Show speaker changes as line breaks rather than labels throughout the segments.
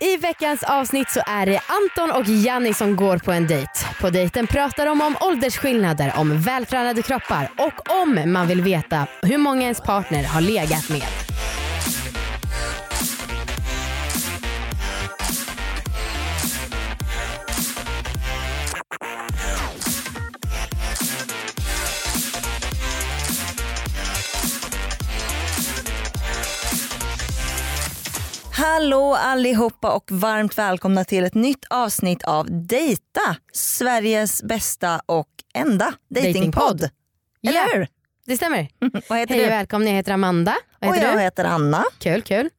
I veckans avsnitt så är det Anton och Janni som går på en dejt. På dejten pratar de om åldersskillnader, om vältränade kroppar och om man vill veta hur många ens partner har legat med.
Hallå allihopa och varmt välkomna till ett nytt avsnitt av Dejta, Sveriges bästa och enda
Datingpodd.
datingpodd. Eller
Ja,
hur?
Det stämmer.
Vad heter
Hej och
du?
välkomna, jag heter Amanda. Vad
Och
heter
jag
du?
heter Anna.
Kul, kul.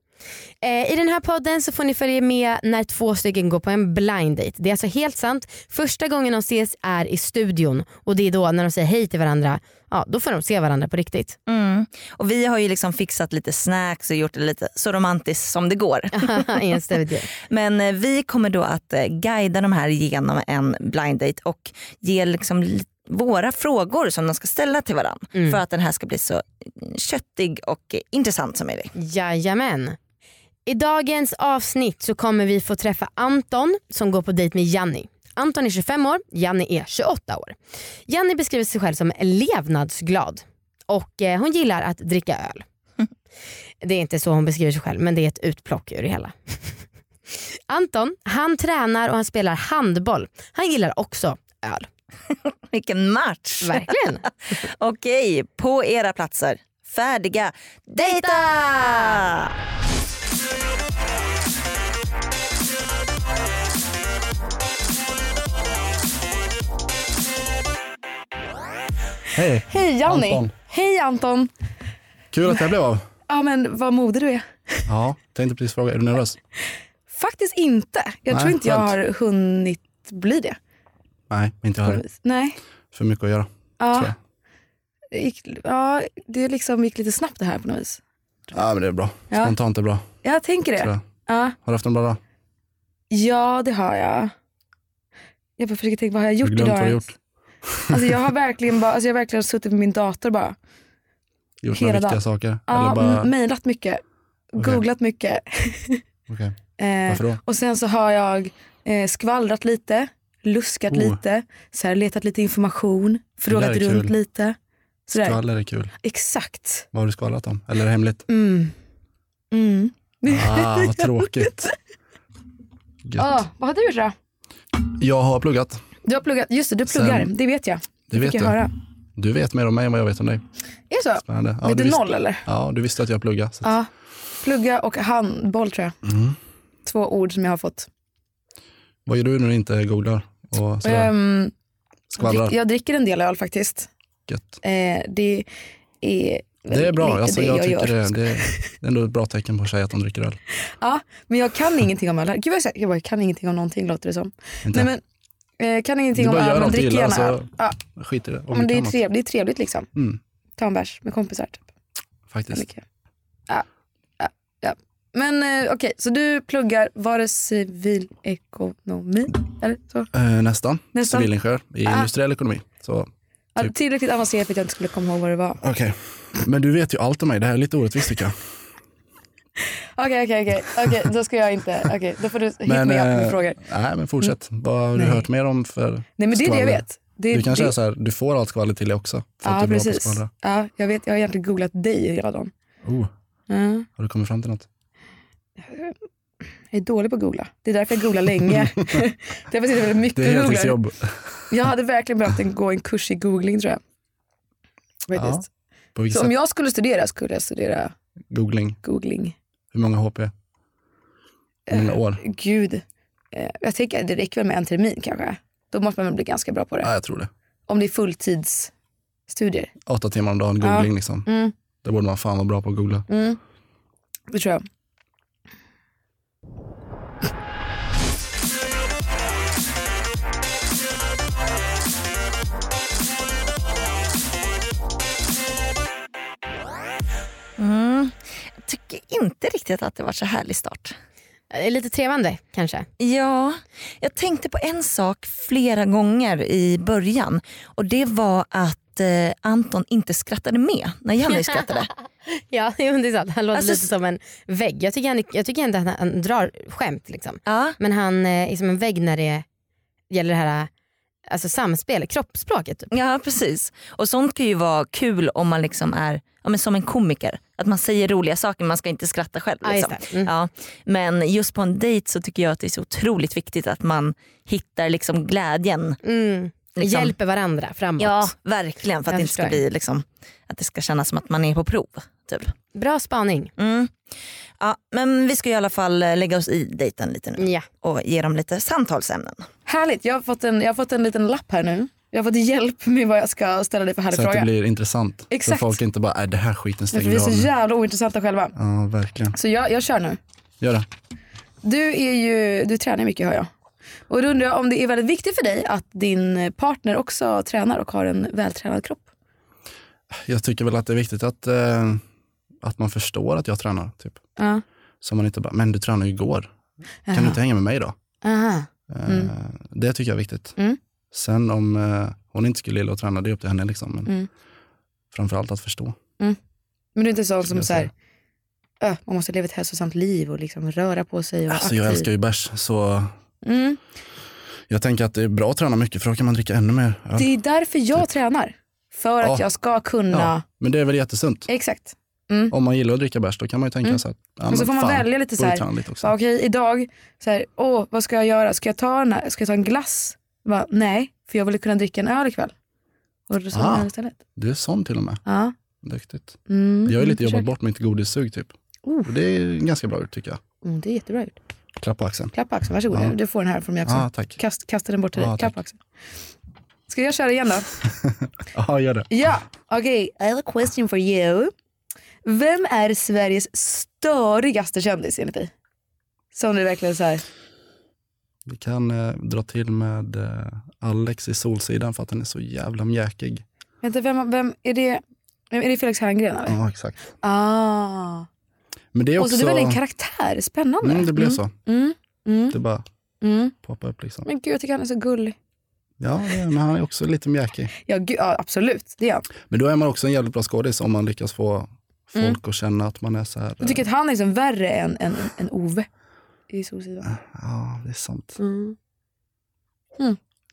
Eh, I den här podden så får ni följa med när två stycken går på en blind date. Det är alltså helt sant. Första gången de ses är i studion och det är då när de säger hej till varandra, ja då får de se varandra på riktigt.
Och vi har ju liksom fixat lite snacks och gjort det lite så romantiskt som det går.
I en studio.
Men eh, vi kommer då att eh, guida de här genom en blind date och ge liksom li- våra frågor som de ska ställa till varandra
Mm.
för att den här ska bli så eh, köttig och eh, intressant som möjligt.
Jajamän. I dagens avsnitt så kommer vi få träffa Anton som går på dejt med Janni. Anton är 25 år, Janni är 28 år. Janni beskriver sig själv som levnadsglad och eh, hon gillar att dricka öl. Det är inte så hon beskriver sig själv men det är ett utplock ur det hela. Anton, han tränar och han spelar handboll. Han gillar också öl.
Vilken match!
Verkligen.
Okej, på era platser. Färdiga. Dejta!
Hej!
Hej Janni!
Anton.
Hej Anton!
Kul att jag blev av.
Ja men vad modig du är.
Ja, tänkte precis fråga, är du nervös?
Faktiskt inte. Jag
Nej,
tror inte jag
skönt.
har hunnit bli det.
Nej, inte jag heller.
Nej.
För mycket att göra. Tror
Ja.
jag.
Det Gick, ja, det liksom gick lite snabbt det här på något vis.
Ja, men det är bra.
Ja.
Spontant är bra.
Jag tänker
Tror
det.
jag.
Ja.
Har du haft en bra dag?
ja, det har jag. Jag bara försöker tänka, vad har jag gjort
glömt
idag?
vad du
ens? Alltså, jag har verkligen bara, alltså, jag har verkligen suttit med min dator bara.
Gjort
Hela
några viktiga
dagen.
saker?
Ja,
Eller bara...
m- Mejlat mycket,
Okej.
googlat mycket.
Okej.
Eh,
Varför då?
Och sen så har jag eh, skvallrat lite, luskat
Oh.
lite, så här, letat lite information, frågat
är
runt
kul.
lite. Sådär.
Skvaller är kul.
Exakt.
Vad har du skvallrat om? Eller är det hemligt?
Mm. Mm.
Ah, vad tråkigt. Gött.
Ah, vad har du gjort då?
Jag har pluggat.
Du har pluggat, just det, du pluggar,
Sen-
det vet jag.
Det vet
fick jag
du.
höra.
Du vet mer om mig än vad jag vet om dig.
Är det så?
Spännande. Ja,
vet du
visste-
noll Ah. eller?
Ja, du visste att jag pluggade. Så att...
Ja. Plugga och handboll tror jag.
Mm.
Två ord som jag har fått.
Vad gör du när du inte googlar och sådär?
Ehm,
skvallrar?
drick- jag dricker en del öl faktiskt.
Gött.
Eh, det är väl
Det är bra.
lite
Alltså,
det
jag
jag,
tycker
gör.
det, det är det är ändå ett bra tecken på tjejer att de dricker öl.
Ja, men jag kan ingenting om öl. Gud vad jag säger. Jag, bara, jag kan ingenting om någonting låter det som.
Inte?
Nej, men, eh, kan ingenting
Du
om
bara gör
öl men
något
dricker
illa,
gärna
så-
öl. Ja,
Skit i det. Om vi
men det, är
kan något,
trevligt, det är trevligt liksom.
Mm.
Ta en bärs med kompisar. Typ.
Faktiskt.
Mycket. Ja, ja, ja. Men eh, okej, så du pluggar, var det civilekonomi? Eller så?
Eh, nästan.
Nästan.
Civilingenjör i
Ah.
industriell ekonomi. Så,
Ja,
Typ.
Tillräckligt avancerat för att jag inte skulle komma ihåg vad det var.
okay. Men du vet ju allt om mig. Det här är lite orättvist tycker jag.
Okej, okej, okej. Okej, då ska jag inte. Okej, då får du hit
Men,
mig upp
eh,
med frågor. Mm.
Nej, men fortsätt. Vad har du
Nej.
hört mer om för
Nej men det är det jag
skvaller?
vet. Det,
Du kanske
det,
är så här, du får allt skvaller till dig också. För att
Ja,
du är bra på att
precis.
skvallra.
Ja, jag vet. Jag har egentligen googlat dig hela dagen.
Oh,
Ja.
har du kommit fram till något?
Jag är dålig på att googla. Det är därför jag googlar länge. därför sitter jag väldigt
Det
mycket
är
och googlar.
heltidsjobb.
Jag hade verkligen behövt en, gå en kurs i googling tror jag. Faktiskt.
På vilket
Så om
sätt?
jag skulle studera skulle jag studera
Googling.
googling.
Hur många HP? Hur många år?
Gud, eh, jag tänker att det räcker väl med en termin kanske. Då måste man väl bli ganska bra på det.
Ja, jag tror det.
Om det är fulltidsstudier.
Åtta timmar om dagen googling liksom.
Mm.
Det borde man fan vara bra på att googla.
Mm. Det tror jag.
Mm. inte riktigt att det var så härlig start.
Eh, Lite trevande kanske.
Ja, jag tänkte på en sak flera gånger i början och det var att eh, Anton inte skrattade med när Jenny skrattade.
Ja, jo, det är sant. Han låter
Alltså,
lite som en vägg. Jag tycker, han, jag tycker inte att han, han drar skämt. Liksom.
Ja,
Men han eh, är som en vägg när det gäller det här alltså, samspel, kroppsspråket. Typ.
ja, precis. Och sånt kan ju vara kul om man liksom är ja, men som en komiker. Att man säger roliga saker men man ska inte skratta själv.
Ja, just
Liksom.
det. Mm.
Ja, men just på en dejt så tycker jag att det är så otroligt viktigt att man hittar liksom glädjen.
Mm.
Liksom.
Hjälper varandra framåt.
Ja, verkligen. För att
Jag
det inte ska
förstår.
bli liksom, att det ska kännas som att man är på prov. Typ.
Bra spaning.
Mm. Ja, men vi ska i alla fall eh, lägga oss i dejten lite nu
Ja.
och ge dem lite samtalsämnen.
Härligt, jag har, fått en, jag har fått en liten lapp här nu. Jag har fått hjälp med vad jag ska ställa dig för härlig
Så att
fråga.
det blir intressant.
Exakt.
Så folk inte bara, är det här skiten
Men
stänger
för vi är
vi
så
av nu.
jävla ointressanta själva.
Ja, verkligen.
Så jag, jag kör nu.
Gör det.
Du, är ju, du tränar mycket hör jag. Och då undrar jag om det är väldigt viktigt för dig att din partner också tränar och har en vältränad kropp.
Jag tycker väl att det är viktigt att, eh, att man förstår att jag tränar. Typ.
Ja.
Så man inte bara, men du tränade ju igår. Kan du inte hänga med mig då?
Aha.
Eh, Det tycker jag är viktigt.
Mm.
Sen om eh, hon inte skulle gilla att träna, det är upp till henne. Liksom. Men
Mm.
Framförallt att förstå.
Men du är inte sån som
jag
så här, "Ö, man måste leva ett hälsosamt liv och liksom röra på sig och vara
Alltså, jag
aktiv."
älskar ju bärs, så
Mm.
jag tänker att det är bra att träna mycket för då kan man dricka ännu mer öl.
Det är därför jag tränar. För att
Typ. Ja.
jag ska kunna.
Ja, men det är väl jättesunt.
Exakt.
Om man gillar att dricka bärs då kan man ju tänka så här, ja,
och så
men
Mm. Alltså, får man
fan,
välja lite så
borde
här.
träna lite också.
Bara, Okej idag, så här, åh, vad ska jag göra? Ska jag ta en, ska jag ta en glass? Bara, Nej, för jag ville kunna dricka en öl ikväll. Och då sa
Ah.
jag istället.
Du är sån till och med.
Ja.
Duktigt.
Mm,
Jag har ju lite
mm,
jobbat bort mitt godissug typ.
Oh.
Och det är ganska bra ut tycker jag.
försök. Mm, det är jättebra gjort.
Klapp på axeln.
Klapp på axeln, varsågod.
Ja.
Du får den här från mig också.
Ja, ah, tack.
Kast, kasta den bort till dig.
Ja,
Klapp
tack.
på axeln. Ska jag köra igen då?
Ja, gör det.
Ja, okej. I have a question for you. Vem är Sveriges störigaste kändis enligt dig? Som du verkligen så här.
Vi kan eh, dra till med eh, Alex i Solsidan för att han är så jävla mjäkig.
Vänta, vem, vem är det? Vem, är det Felix Herngren eller?
Ja, exakt.
Ah.
Men det är
Och
också...
så det är väl en karaktär, spännande.
mm, det blev så.
Mm, mm,
Det bara
mm.
poppar upp liksom.
Men gud jag tycker han är så gullig.
Ja, det är- men han är också lite mjäkig.
Ja, gud, ja absolut, det är han.
Men då är man också en jävligt bra skådis om man lyckas få folk
Mm.
att känna att man är så här.
Jag tycker att han är liksom värre än, än, än Ove i Solsidan.
eh, Ja, det är sant.
Mm.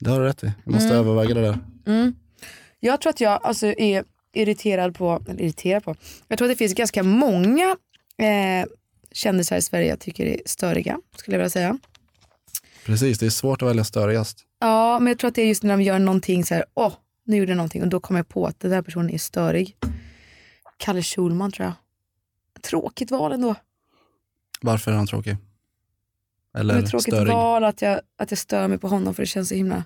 Det har du rätt i. Jag måste
Mm.
överväga det där.
Mm. Jag tror att jag alltså, är irriterad på, eller irriterad på, jag tror att det finns ganska många eh, kändisar i Sverige jag tycker är störiga, skulle jag vilja säga.
Precis, det är svårt att välja störigast.
Ja, men jag tror att det är just när de gör någonting så här, åh, nu gjorde jag någonting och då kommer jag på att den där personen är störig. Kalle Schulman tror jag. Tråkigt val ändå.
Varför är han tråkig?
Men
Eller
ett tråkigt
störig?
val att jag, att jag stör mig på honom för det känns så himla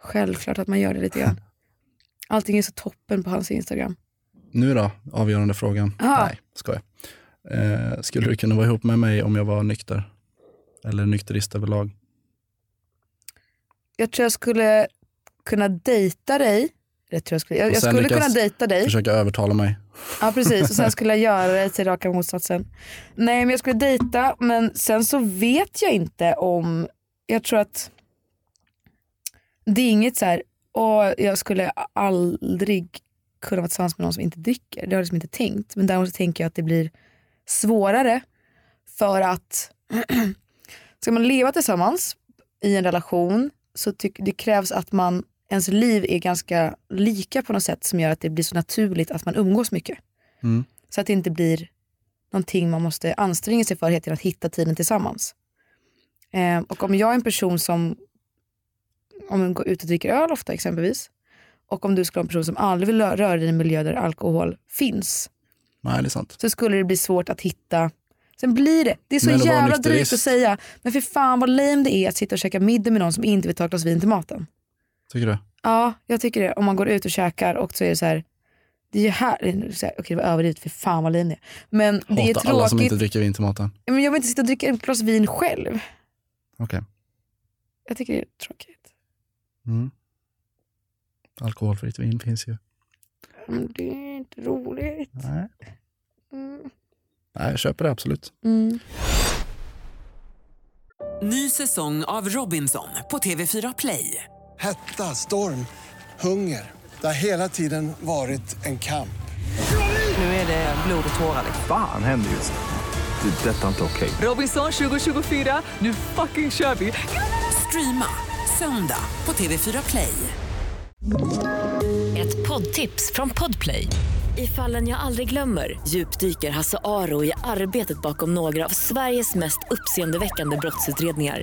självklart att man gör det lite grann. Allting är så toppen på hans Instagram.
Nu då, avgörande frågan.
Aha.
Nej, skojar. Eh, skulle du kunna vara ihop med mig om jag var nykter? Eller nykterist överlag?
jag tror jag skulle kunna dejta dig. Jag, tror jag, skulle, jag,
Och
jag
sen
skulle
lyckas-
kunna dejta dig.
Försöka övertala mig.
Ja precis. Och sen skulle jag göra det till raka motsatsen. Nej men jag skulle dejta men sen så vet jag inte om, jag tror att det är inget så här, och jag skulle aldrig kunna vara tillsammans med någon som inte dricker. Det har jag liksom inte tänkt. Men däremot så tänker jag att det blir svårare för att ska man leva tillsammans i en relation så tyck- det krävs att man ens liv är ganska lika på något sätt som gör att det blir så naturligt att man umgås mycket.
Mm.
Så att det inte blir någonting man måste anstränga sig för hela tiden, att hitta tiden tillsammans. Eh, och om jag är en person som om man går ut och dricker öl ofta exempelvis och om du skulle vara en person som aldrig vill rö- röra dig i en miljö där alkohol finns
Nej, det är sant.
så skulle det bli svårt att hitta Sen blir det, det är så
Men att vara
jävla drygt
nykterist-
att säga, men för fan vad lame det är att sitta och käka middag med någon som inte vill ta ett glas vin till maten.
Tycker du?
Ja, jag tycker det. Om man går ut och käkar och så är det så här, det är ju här, det är så här okej det var överdrivet, för fan vad lin det är. Men det är
Hatar alla som
tråkigt,
inte dricker vin till maten.
men jag vill inte sitta och dricka ett glas vin själv.
Okej.
Jag tycker det är tråkigt.
Mm. Alkoholfritt vin finns ju.
Men det är inte roligt.
Nej.
Mm.
Nej, jag köper det absolut.
Ny säsong av Robinson på TV4 Play.
Hetta, storm, hunger. Det har hela tiden varit en kamp.
Nu är det blod och tårar. Liksom.
Fan händer just det. Det är detta inte okej.
Robinson 2024, nu fucking kör vi! Streama söndag på TV4 Play.
Ett poddtips från Podplay. I fallen jag aldrig glömmer djupdyker Hasse Aro i arbetet bakom några av Sveriges mest uppseendeväckande brottsutredningar.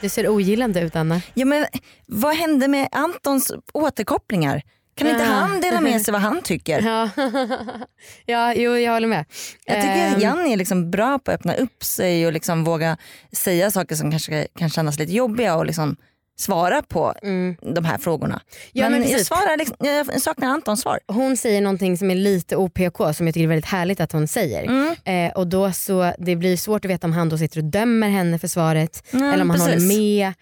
Du ser ogillande ut Anna.
Ja, men, vad hände med Antons återkopplingar? Kan inte
Ja. Mm-hmm.
han dela med sig vad han tycker?
Ja, ja jo, jag håller med.
Jag tycker
Ehm,
att Janni är liksom bra på att öppna upp sig och liksom våga säga saker som kanske kan kännas lite jobbiga och liksom svara på de här frågorna.
Mm. Ja, men
jag,
precis.
svarar liksom, jag saknar Antons svar.
Hon säger någonting som är lite OPK som jag tycker är väldigt härligt att hon säger. Eh, och då så, Det blir svårt att veta om han då sitter och dömer henne för svaret
Mm,
eller om han
precis.
håller med.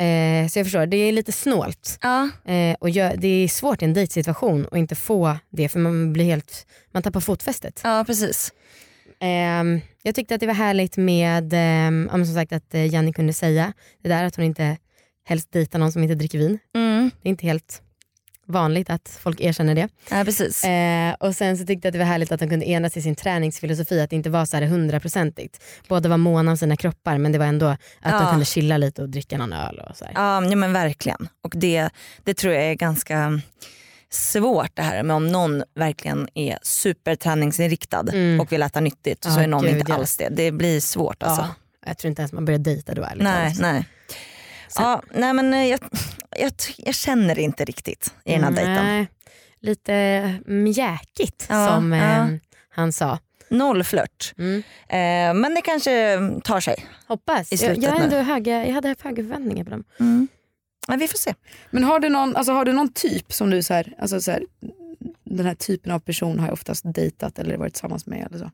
Eh, så jag förstår, det är lite snålt.
Ja.
Eh, och jag, det är svårt i en dejtsituation att inte få det för man blir helt, man tappar fotfästet.
ja precis.
Ehm, jag tyckte att det var härligt med, ehm, ja, men som sagt att eh, Janni kunde säga det där att hon inte helst dejtar någon som inte dricker vin.
Mm.
Det är inte helt vanligt att folk erkänner det.
Ja, precis.
Eh, och sen så tyckte jag att det var härligt att de kunde enas i sin träningsfilosofi, att det inte var så här hundraprocentigt. Båda var måna om sina kroppar men det var ändå att de
Ja.
kunde chilla lite och dricka någon öl och så här.
Ja, ja men verkligen. Och det, det tror jag är ganska svårt det här med om någon verkligen är superträningsinriktad
Mm.
och vill äta nyttigt och
Ja,
så är någon
gud,
inte
ja.
alls det. Det blir svårt alltså.
Ja, jag tror inte ens man börjar dejta då ärligt
Nej,
talat.
nej. Ja, nej men eh, jag, jag, t- jag känner inte riktigt i den här dejten.
Mm, Nej, Lite mjäkigt
Ja,
som eh,
ja.
han sa.
Noll flört.
Mm.
Eh, men det kanske tar sig.
Hoppas.
I
Jag,
slutet
jag, är ändå
nu.
höga, jag hade haft höga förväntningar på dem.
Men vi får se.
Men har du någon, alltså, har du någon typ som du så här, alltså, så här, den här typen av person har jag oftast dejtat eller varit tillsammans med eller så?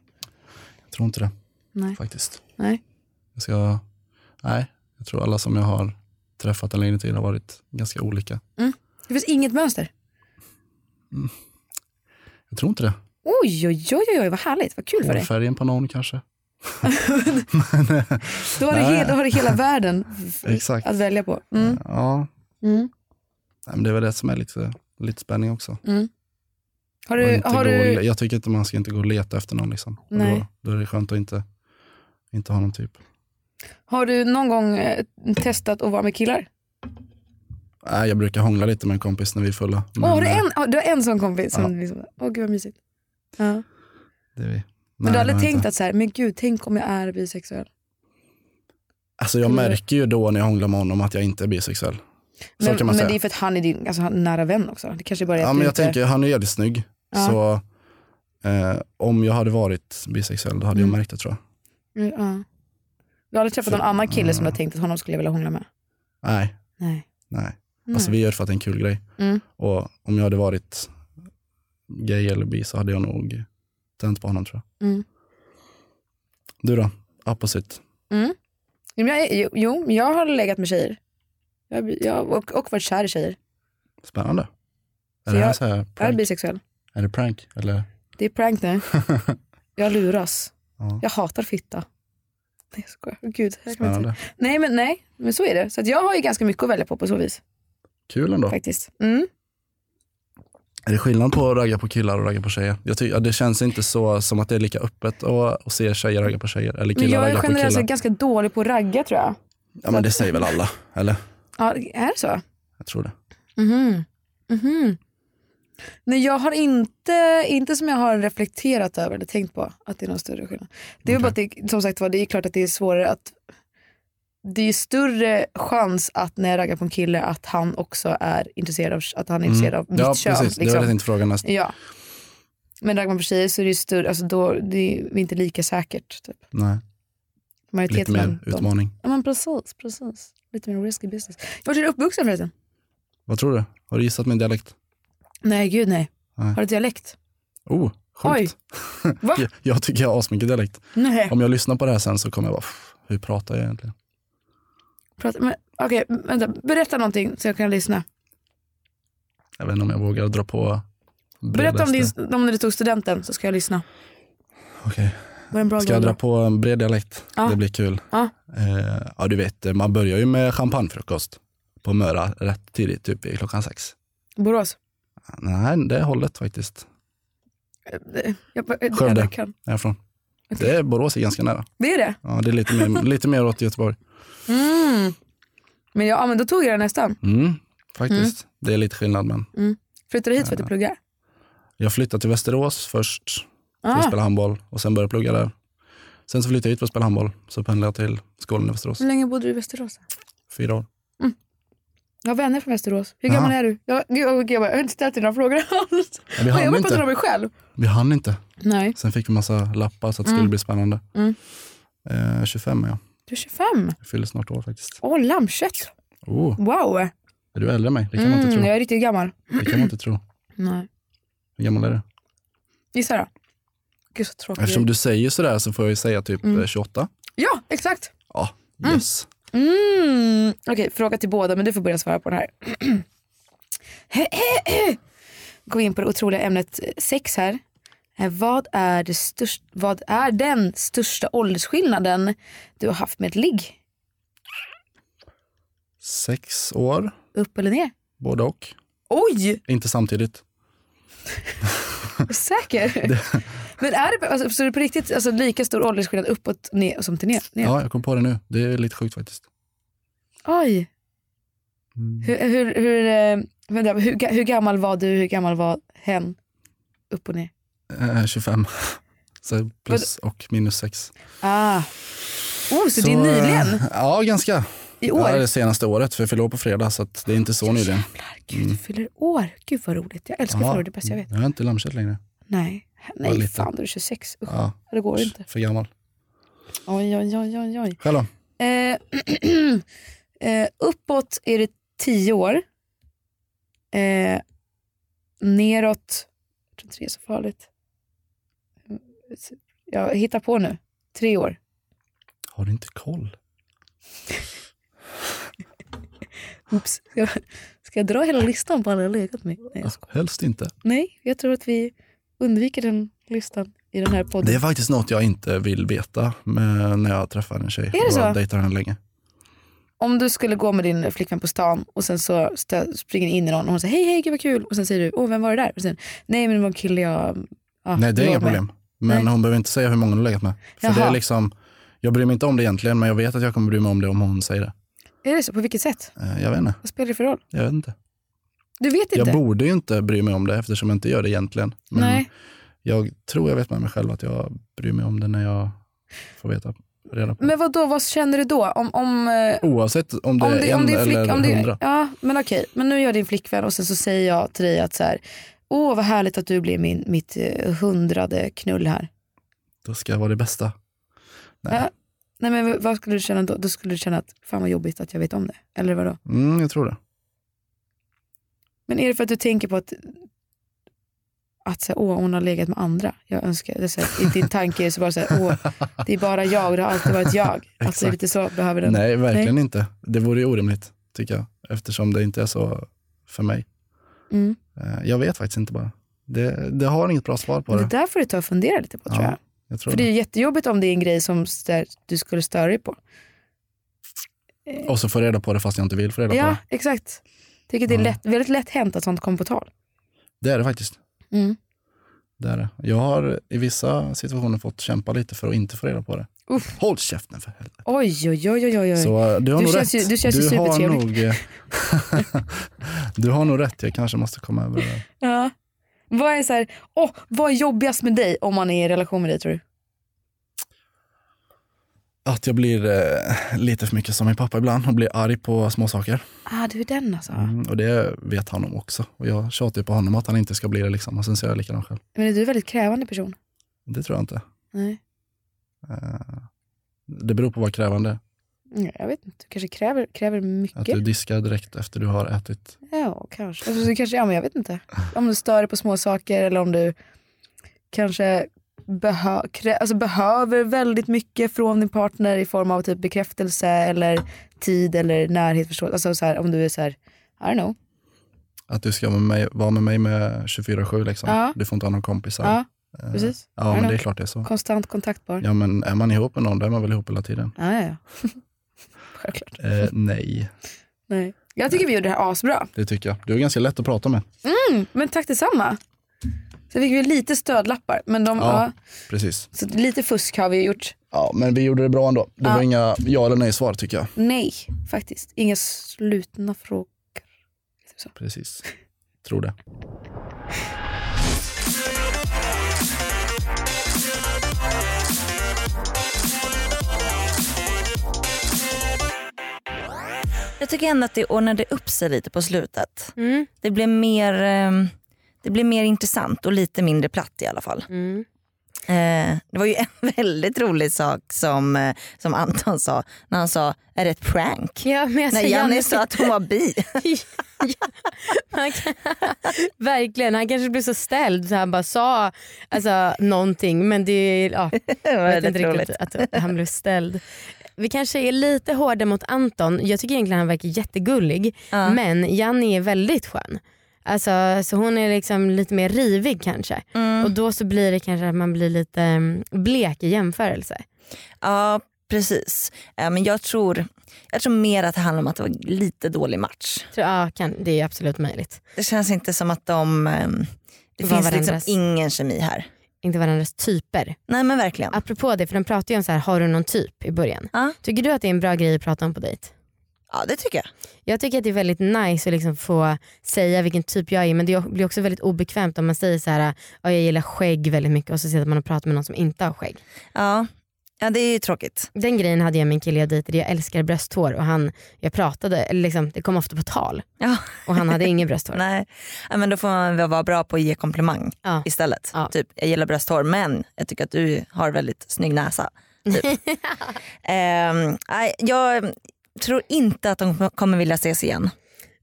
Jag tror inte det
Nej.
faktiskt.
Nej.
Jag, ska, nej, jag tror alla som jag har träffat en längre tid har varit ganska olika.
Det finns inget mönster?
Jag tror inte det.
Oj, oj, oj, oj, oj vad härligt, vad kul för dig.
Hårfärgen på någon kanske.
Då har, du
Nej.
he, då har du hela världen f-
Exakt.
att välja på. Mm.
Ja,
Mm.
nej, men det är väl det som är lite, lite spänning också. Och
Har du,
inte
har
gå och le-
du,
jag tycker inte man ska inte gå och leta efter någon. Liksom. Och
Nej.
Då, då är det skönt att inte, inte ha någon typ.
har du någon gång eh, testat att vara med killar?
Nej, jag brukar hångla lite med en kompis när vi är fulla.
Åh, har du,
eh,
en, har- du har en sån kompis som liksom, åh gud vad mysigt. Ja. Men
Det är vi.
du har aldrig
det har jag
tänkt
inte.
att så här, men gud tänk om jag är bisexuell.
Alltså jag märker ju då när jag hånglar med honom att jag inte är bisexuell. Så
Men,
kan man
men
säga.
det är för att han är din alltså, han är nära vän också. Det kanske bara är
Ja,
att
men
du
jag
inte-
tänker, han är jävligt snygg.
Ja.
Så eh, om jag hade varit bisexuell då hade
Mm.
jag märkt det tror jag.
Mm, Ja. Du har aldrig träffat någon annan kille som du har
Mm.
tänkt att honom skulle jag vilja hångla med?
Nej,
Nej.
nej. Alltså vi gör det för att det är en kul grej.
Mm.
Och om jag hade varit gay eller bi så hade jag nog tänt på honom tror jag.
Mm.
Du då? Opposite.
Jo, Mm. men Jag, jo, jo, men jag har legat med tjejer. Jag, jag, och, och varit kär i tjejer.
Spännande. Är
Så
det här
jag-
så här
Jag är
prank?
bisexuell.
Är det prank? Eller?
Det är prank nu. Jag luras.
Ja.
Jag hatar fitta. Nej jag skojar. Åh, Gud, jag kan inte.
Spännande.
Nej men nej, men så är det. Så att jag har ju ganska mycket att välja på på så vis.
Kul ändå.
Faktiskt. Mm.
Är det skillnad på att ragga på killar och ragga på tjejer? Jag tycker, det känns inte så som att det är lika öppet att, att se tjejer ragga på tjejer eller
Men
killar
jag
ragga
är
på killar.
generellt sett ganska dålig på att ragga tror jag.
Ja men det säger väl alla, eller?
Ja, är det så?
Jag tror det. Mm-hmm.
Mhm. Mhm. Nej, jag har inte, inte som jag har reflekterat över eller tänkt på att det är någon större skillnad. Det är väl bara att det, som sagt var, det är klart att det är svårare att det är ju större chans att när jag raggar på en kille att han också är intresserad av, att han är intresserad av mitt
Mm. Ja
kön.
precis, det var det jag
liksom.
tänkte fråga näst.
ja. Men raggar man på tjejer så är det ju större, alltså då, det är inte lika säkert. Typ.
Nej.
Majoritet
Lite mer
bland dem.
utmaning.
Ja men precis, precis. Lite mer risky business. Vart är du uppvuxen förresten?
Vad tror du? Har du gissat min dialekt?
Nej gud nej.
Nej.
Har du dialekt?
Oh, sjukt.
Va?
jag, jag tycker jag har asmycket dialekt.
Nej.
Om jag lyssnar på det här sen så kommer jag bara, "Pff, hur pratar jag egentligen?
Prata, men, okej, vänta. Berätta någonting så jag kan lyssna.
Jag vet inte om jag vågar dra på
Berätta om,
bredaste-
din, om när du tog studenten så ska jag lyssna.
Okej.
Var det en bra
Ska jag
grej
dra
då?
på en bred dialekt?
Ja.
Det blir kul.
Ja.
Eh, ja, du vet, man börjar ju med champagnefrukost på Möra rätt tidigt, typ vid klockan sex.
Borås?
Nej, det är hållet faktiskt.
Eh, Jag, jag, jag,
Skövde
jag kan.
är jag från. Det är Borås är ganska nära.
Det är det?
Ja, det är lite mer, lite mer åt Göteborg.
Mm. Men, ja, ja, men då tog jag det nästan.
Mm, faktiskt. Det är lite skillnad men.
Mm. Flyttade hit för att du pluggar?
Jag flyttade till Västerås först för att
Ah.
spela handboll och sen började jag plugga där. Sen så flyttade jag hit för att spela handboll, så pendlade jag till skolan i Västerås.
Hur länge bodde du i Västerås?
Fyra år.
Jag har vänner från Västerås. Hur gammal
Jaha.
är du? Jag, jag, jag, jag, bara, jag har inte ställt dig några frågor alls.
Ah. Ja, vi
Och
hann
jag bara
inte.
pratar om mig själv.
Vi hann inte.
Nej.
Sen fick vi massa lappar så att det
Mm.
skulle bli spännande.
Mm.
Eh, 25 är jag.
Du är 25.
Jag fyller snart år faktiskt.
Åh, lammkött.
Oh,
Wow.
är du äldre än mig? Det kan man inte
Mm,
tro.
Jag är riktigt gammal.
Det kan man inte tro.
Nej.
Hur gammal är du?
Gissa då. Gud så tråkigt.
Eftersom du säger sådär så får jag ju säga typ
Mm.
eh, 28.
Ja, exakt.
Ja, yes.
Mm. Okej, fråga till båda men du får börja svara på den här. Gå in på det otroliga ämnet sex här. Eh, Vad är, det störst, vad är den största åldersskillnaden du har haft med ett ligg?
Sex år,
Upp eller ner?
både och.
Oj!
Inte samtidigt.
Är du Säker? Men är det, alltså, så är det på riktigt alltså, lika stor åldersskillnad uppåt ner, som till ner? ner?
Ja, jag kom på det nu. Det är lite sjukt faktiskt.
Oj.
Mm.
Hur, hur, hur, eh, vänta, hur, ga- hur gammal var du? Hur gammal var hen? Upp och ner.
Eh, 25. Så plus och minus sex.
Ah. Oh, så, det är nyligen?
eh, Ja, ganska.
I år?
Ja, det senaste året, för jag fyller år på fredag så att det är inte så nyligen. Mm.
Du fyller år. Gud vad roligt. Jag älskar
Ja.
ja. förlor, det är bästa jag vet.
Jag är inte lammkött längre.
Nej,
Var
nej
lite-
fan du är 26. Usch,
Ja.
det går inte.
För gammal.
Oj, oj, oj, oj. oj.
Själv då?
Eh, eh, uppåt är det 10 år. Eh, neråt, jag tror inte det är så farligt. Jag hittar på nu. Tre år.
Har du inte koll?
Oops. Ska, jag- ska jag dra hela listan på alla jag legat med? Nej, jag skojar.
Helst inte.
Nej, jag tror att vi undviker den listan i den här podden.
Det är faktiskt något jag inte vill veta med när jag träffar en tjej.
det
och
så?
dejtar henne länge.
Om du skulle gå med din flickvän på stan och sen så stö- springer ni in i någon och hon säger hej hej gud vad kul och sen säger du åh vem var det där? Och sen, Nej men det var en kille jag... ja,
Nej, det är
låg
inga
med."
problem. Men
Nej.
hon behöver inte säga hur många hon har legat med. För det
Jaha.
är liksom, jag bryr mig inte om det egentligen, men jag vet att jag kommer bry mig om det om hon säger det.
Är det så? På vilket sätt?
Eh, Jag vet inte.
Vad spelar det för roll?
Jag vet inte.
Typ Du vet inte?
Jag borde ju inte bry mig om det eftersom jag inte gör det egentligen. Men
Nej.
jag tror jag vet med mig själv att jag bryr mig om det när jag får veta reda på
Men vad då? vad känner du då? Om, om, eh,
Oavsett om det
om
är
det,
en
om det är flick,
eller
om det,
hundra.
Ja men okej, men nu gör din flickvän och sen så säger jag till dig att så här, åh vad härligt att du blir min, mitt eh, hundrade knull här.
Då ska jag vara det bästa. Nej.
Ja. Nej men v- vad skulle du känna då? Då skulle du känna att fan vad jobbigt att jag vet om det. Eller vadå?
Mm, jag tror det.
Men är det för att du tänker på att, att så här, åh, hon har legat med andra? Jag önskar, det är så här, I din tanke är det så bara så här, åh, det är bara jag, det har alltid varit jag. Alltså det är lite så behöver den.
Nej, verkligen
Nej.
inte. Det vore ju orimligt tycker jag. Eftersom det inte är så för mig.
Mm.
Eh, Jag vet faktiskt inte bara. Det, det har inget bra svar på
Men
det.
det där får du ta och fundera lite på tror jag.
ja, jag tror
För det är
det.
ju jättejobbigt om det är en grej som så där, du skulle störa dig på.
Och så får jag reda på det fast jag inte vill få reda på
Ja,
det.
exakt. Tycker det är lätt, väldigt lätt hänt att sånt kommer på tal.
Det är det faktiskt.
Mm.
Det är det. Jag har i vissa situationer fått kämpa lite för att inte få reda på det. Håll käften för helvete.
Oj, oj, oj, oj, oj.
Så eh, du har
du
nog
känns
rätt.
Ju, du känns ju
har nog,
supertrevlig.
eh, du har nog rätt. Jag kanske måste komma över det. där.
Ja. Vad är så här, åh, vad är jobbigast med dig om man är i relation med dig tror du?
att jag blir eh, lite för mycket som min pappa ibland och blir arg på småsaker.
Ah, du är den alltså.
Mm, och det vet han om också. Och jag tjatar ju på honom att han inte ska bli det liksom. Och sen så är jag likadan själv.
Men är du en väldigt krävande person?
Det tror jag inte.
Nej.
Eh, det beror på vad krävande är.
Nej, Jag vet inte, du kanske kräver, kräver mycket.
Att du diskar direkt efter du har ätit.
Ja, kanske. Alltså, så kanske. Ja, men jag vet inte. Om du stör dig på små saker eller om du kanske behö krä- alltså, behöver väldigt mycket från din partner i form av typ bekräftelse eller tid eller närhet. Förstå- alltså, så här, om du är så här, I don't know.
Att du ska med mig, vara med mig med 24-7 liksom.
Ja.
Du får inte ha någon kompisar.
Ja,
Eh,
precis. I
Ja,
don't
men det är
know.
klart det är så.
Konstant kontaktbar.
Ja, men är man ihop med någon, då är man väl ihop hela tiden?
Ja, ja, ja. Självklart.
Eh, nej,
Nej. Jag tycker vi gjorde det här asbra.
det tycker jag. Du är ganska lätt att prata med.
Mm, men tack detsamma. Så fick vi lite stödlappar. Men de,
Ja.
ja,
Precis.
så lite fusk har vi gjort.
Ja, men vi gjorde det bra ändå. Det
Ja.
var inga ja eller nej svar tycker jag.
Nej, faktiskt. Inga slutna frågor.
Precis. Tror det.
Jag tycker ändå att det ordnade upp sig lite på slutet.
Mm.
Det, blev mer, ehm, det blev mer intressant och lite mindre platt i alla fall. Eh, Det var ju en väldigt rolig sak som, eh, som Anton sa när han sa, är det ett prank?
Ja, men alltså,
när Janne
Janne-
sa att hon var bi.
Han kan, verkligen, han kanske blev så ställd så han bara sa alltså, någonting men det är ja, jag vet
väldigt
inte riktigt att,
roligt.
han blev ställd. Vi kanske är lite hårda mot Anton, jag tycker egentligen han verkar jättegullig men Janni är väldigt skön. Alltså, så hon är liksom lite mer rivig kanske och då så blir det kanske att man blir lite mm, blek i jämförelse.
Ja, precis. Eh, Men jag tror, jag tror mer att det handlar om att det var lite dålig match.
Tror- Ja, kan, det är absolut möjligt.
Det känns inte som att de... ehm, Det
Var
finns liksom
varandras-
ingen kemi här.
inte varandras typer.
Nej men verkligen.
Apropå det, för de pratar ju om så här, har du någon typ i början. Tycker du att det är en bra grej att prata om på dejt?
Ja det tycker jag.
Jag tycker att det är väldigt nice att liksom få säga vilken typ jag är men det blir också väldigt obekvämt om man säger så här, "Ja, jag gillar skägg väldigt mycket och så säger att man har pratat med någon som inte har skägg.
Ja. ja, det är ju tråkigt.
Den grejen hade jag med en kille jag dejtade, jag älskar brösthår och han, jag pratade, eller liksom, det kom ofta på tal
Ja.
och han hade inget brösthår.
Nej. Ja, men då får man väl vara bra på att ge komplimang istället. Typ, jag gillar brösthår men jag tycker att du har väldigt snygg näsa. Typ. Ehm, nej, jag tror inte att de kommer vilja ses igen.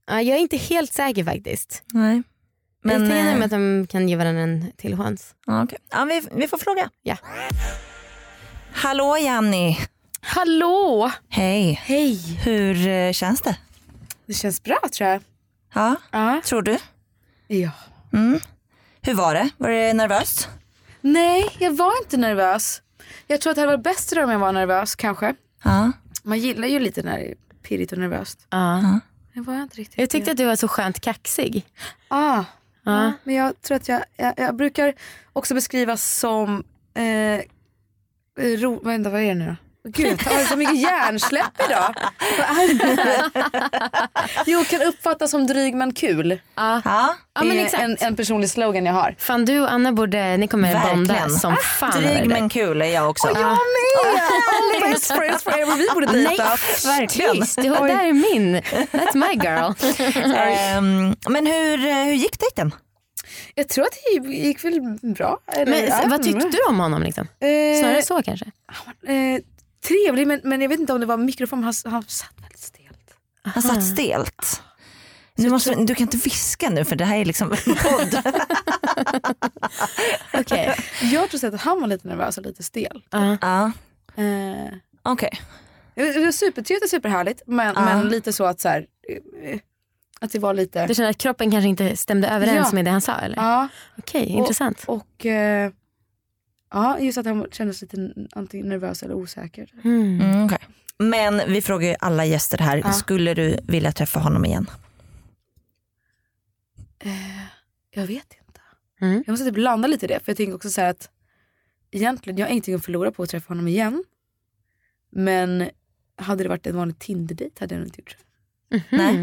Ja, jag är inte helt säker faktiskt. Men,
Nej. Men,
jag tänker
eh,
nämligen att de kan ge varandra en till chans.
Ja, okej. ja, vi, vi får fråga.
Ja.
Hallå Janni.
Hallå!
Hej.
Hej.
Hur eh, känns det?
Det känns bra tror jag.
Ja,
Ja.
tror du?
Ja.
Mm. Hur var det? Var det nervöst?
Nej, jag var inte nervös. Jag tror att det hade varit bättre om jag var nervös kanske.
Ja.
Man gillar ju lite när det är pirrigt och nervöst. Det var jag inte riktigt.
Jag tyckte att du var så skönt kaxig.
Ah.
Ja.
Ja, men jag tror att jag, jag, jag brukar också beskrivas som eh, ro, vänta, vad är det nu då? Gud, jag har så mycket hjärnsläpp idag. Vad är det här? Jo, kan uppfattas som dryg men kul.
Ja,
Det
men
är
exakt.
En, en personlig slogan jag har.
Fan du och Anna borde, ni kommer bonda som fan. över det
Dryg
där.
men kul är jag också.
Och jag
Ja.
med! Best friends forever, vi borde dejta.
Nej, verkligen. Det där är min. That's my girl.
Ehm, men hur, hur gick dejten?
Jag tror att det gick väl bra. eller-
Men,
ja,
vad tyckte
mm.
du om honom? Liksom?
Eh,
Snarare så kanske?
Eh, trevlig, men, men jag vet inte om det var mikrofon. Han, han satt väldigt stelt.
Han satt stelt. Nu måste, du kan inte viska nu för det här är liksom en podd.
Okej.
Jag tror så att han var lite nervös och lite stel.
Ja,
Eh,
Okej.
det det var supertrevligt och superhärligt, men,
Ja.
men lite så att så här, eh, att det var lite...
Du känner att kroppen kanske inte stämde överens
Ja.
med det han sa? Eller?
Ja.
Okej, intressant.
Och, och eh, ja, just att han kändes lite n- antingen nervös eller osäker.
Mm, okej. Men vi frågar ju alla gäster här,
Ja.
skulle du vilja träffa honom igen?
Eh, Jag vet inte.
Mm.
Jag måste typ landa lite i det, för jag tänker också så här att egentligen, jag har ingenting att förlora på att träffa honom igen. Men hade det varit en vanlig Tinder-dejt hade jag nog inte gjort så.
Nej.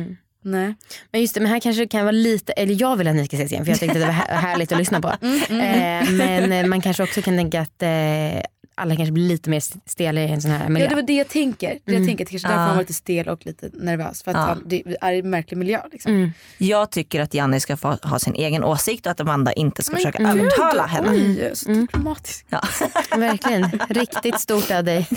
Nej.
Mhm. Men just det, men här kanske det kan vara lite, eller jag vill att ni ska ses
Mm,
Mm. igen för jag tyckte det var här- härligt att lyssna på. Eh, men eh, man kanske också kan tänka att eh, alla kanske blir lite mer stela i en sån här miljö.
Ja, det var det jag tänker. Det jag
Mm.
tänker att kanske därför
Ja.
han var lite stel och lite nervös. För att
Ja. Mm.
han, det är en märklig miljö. Liksom.
Mm.
Jag tycker att Janni ska få ha sin egen åsikt och att Amanda inte ska
Men
försöka
gud,
övertala henne. Mm.
oj, så diplomatisk.
Ja.
Verkligen. Riktigt stort av dig.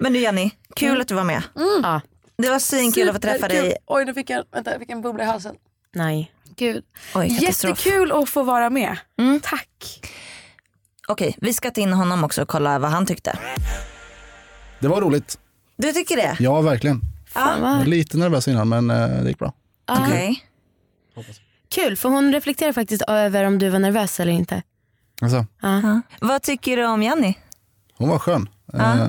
Men du Jenny, kul att du var med.
Ja.
Det var svinkul att få träffa
Superkul.
dig.
Oj, nu fick jag, vänta, jag fick en bubbla i halsen.
Nej.
Gud.
Oj, katastrof. Mm.
Jättekul att få vara med. Tack.
Okej, vi ska ta in honom också och kolla vad han tyckte.
Det var roligt.
Du tycker det?
Ja, verkligen.
Ja.
Jag var lite nervös innan men eh, det gick bra.
Okej.
Kul, för hon reflekterar faktiskt över om du var nervös eller inte.
Alltså,
Ja.
Vad tycker du om Jenny?
hon var skön. Eh,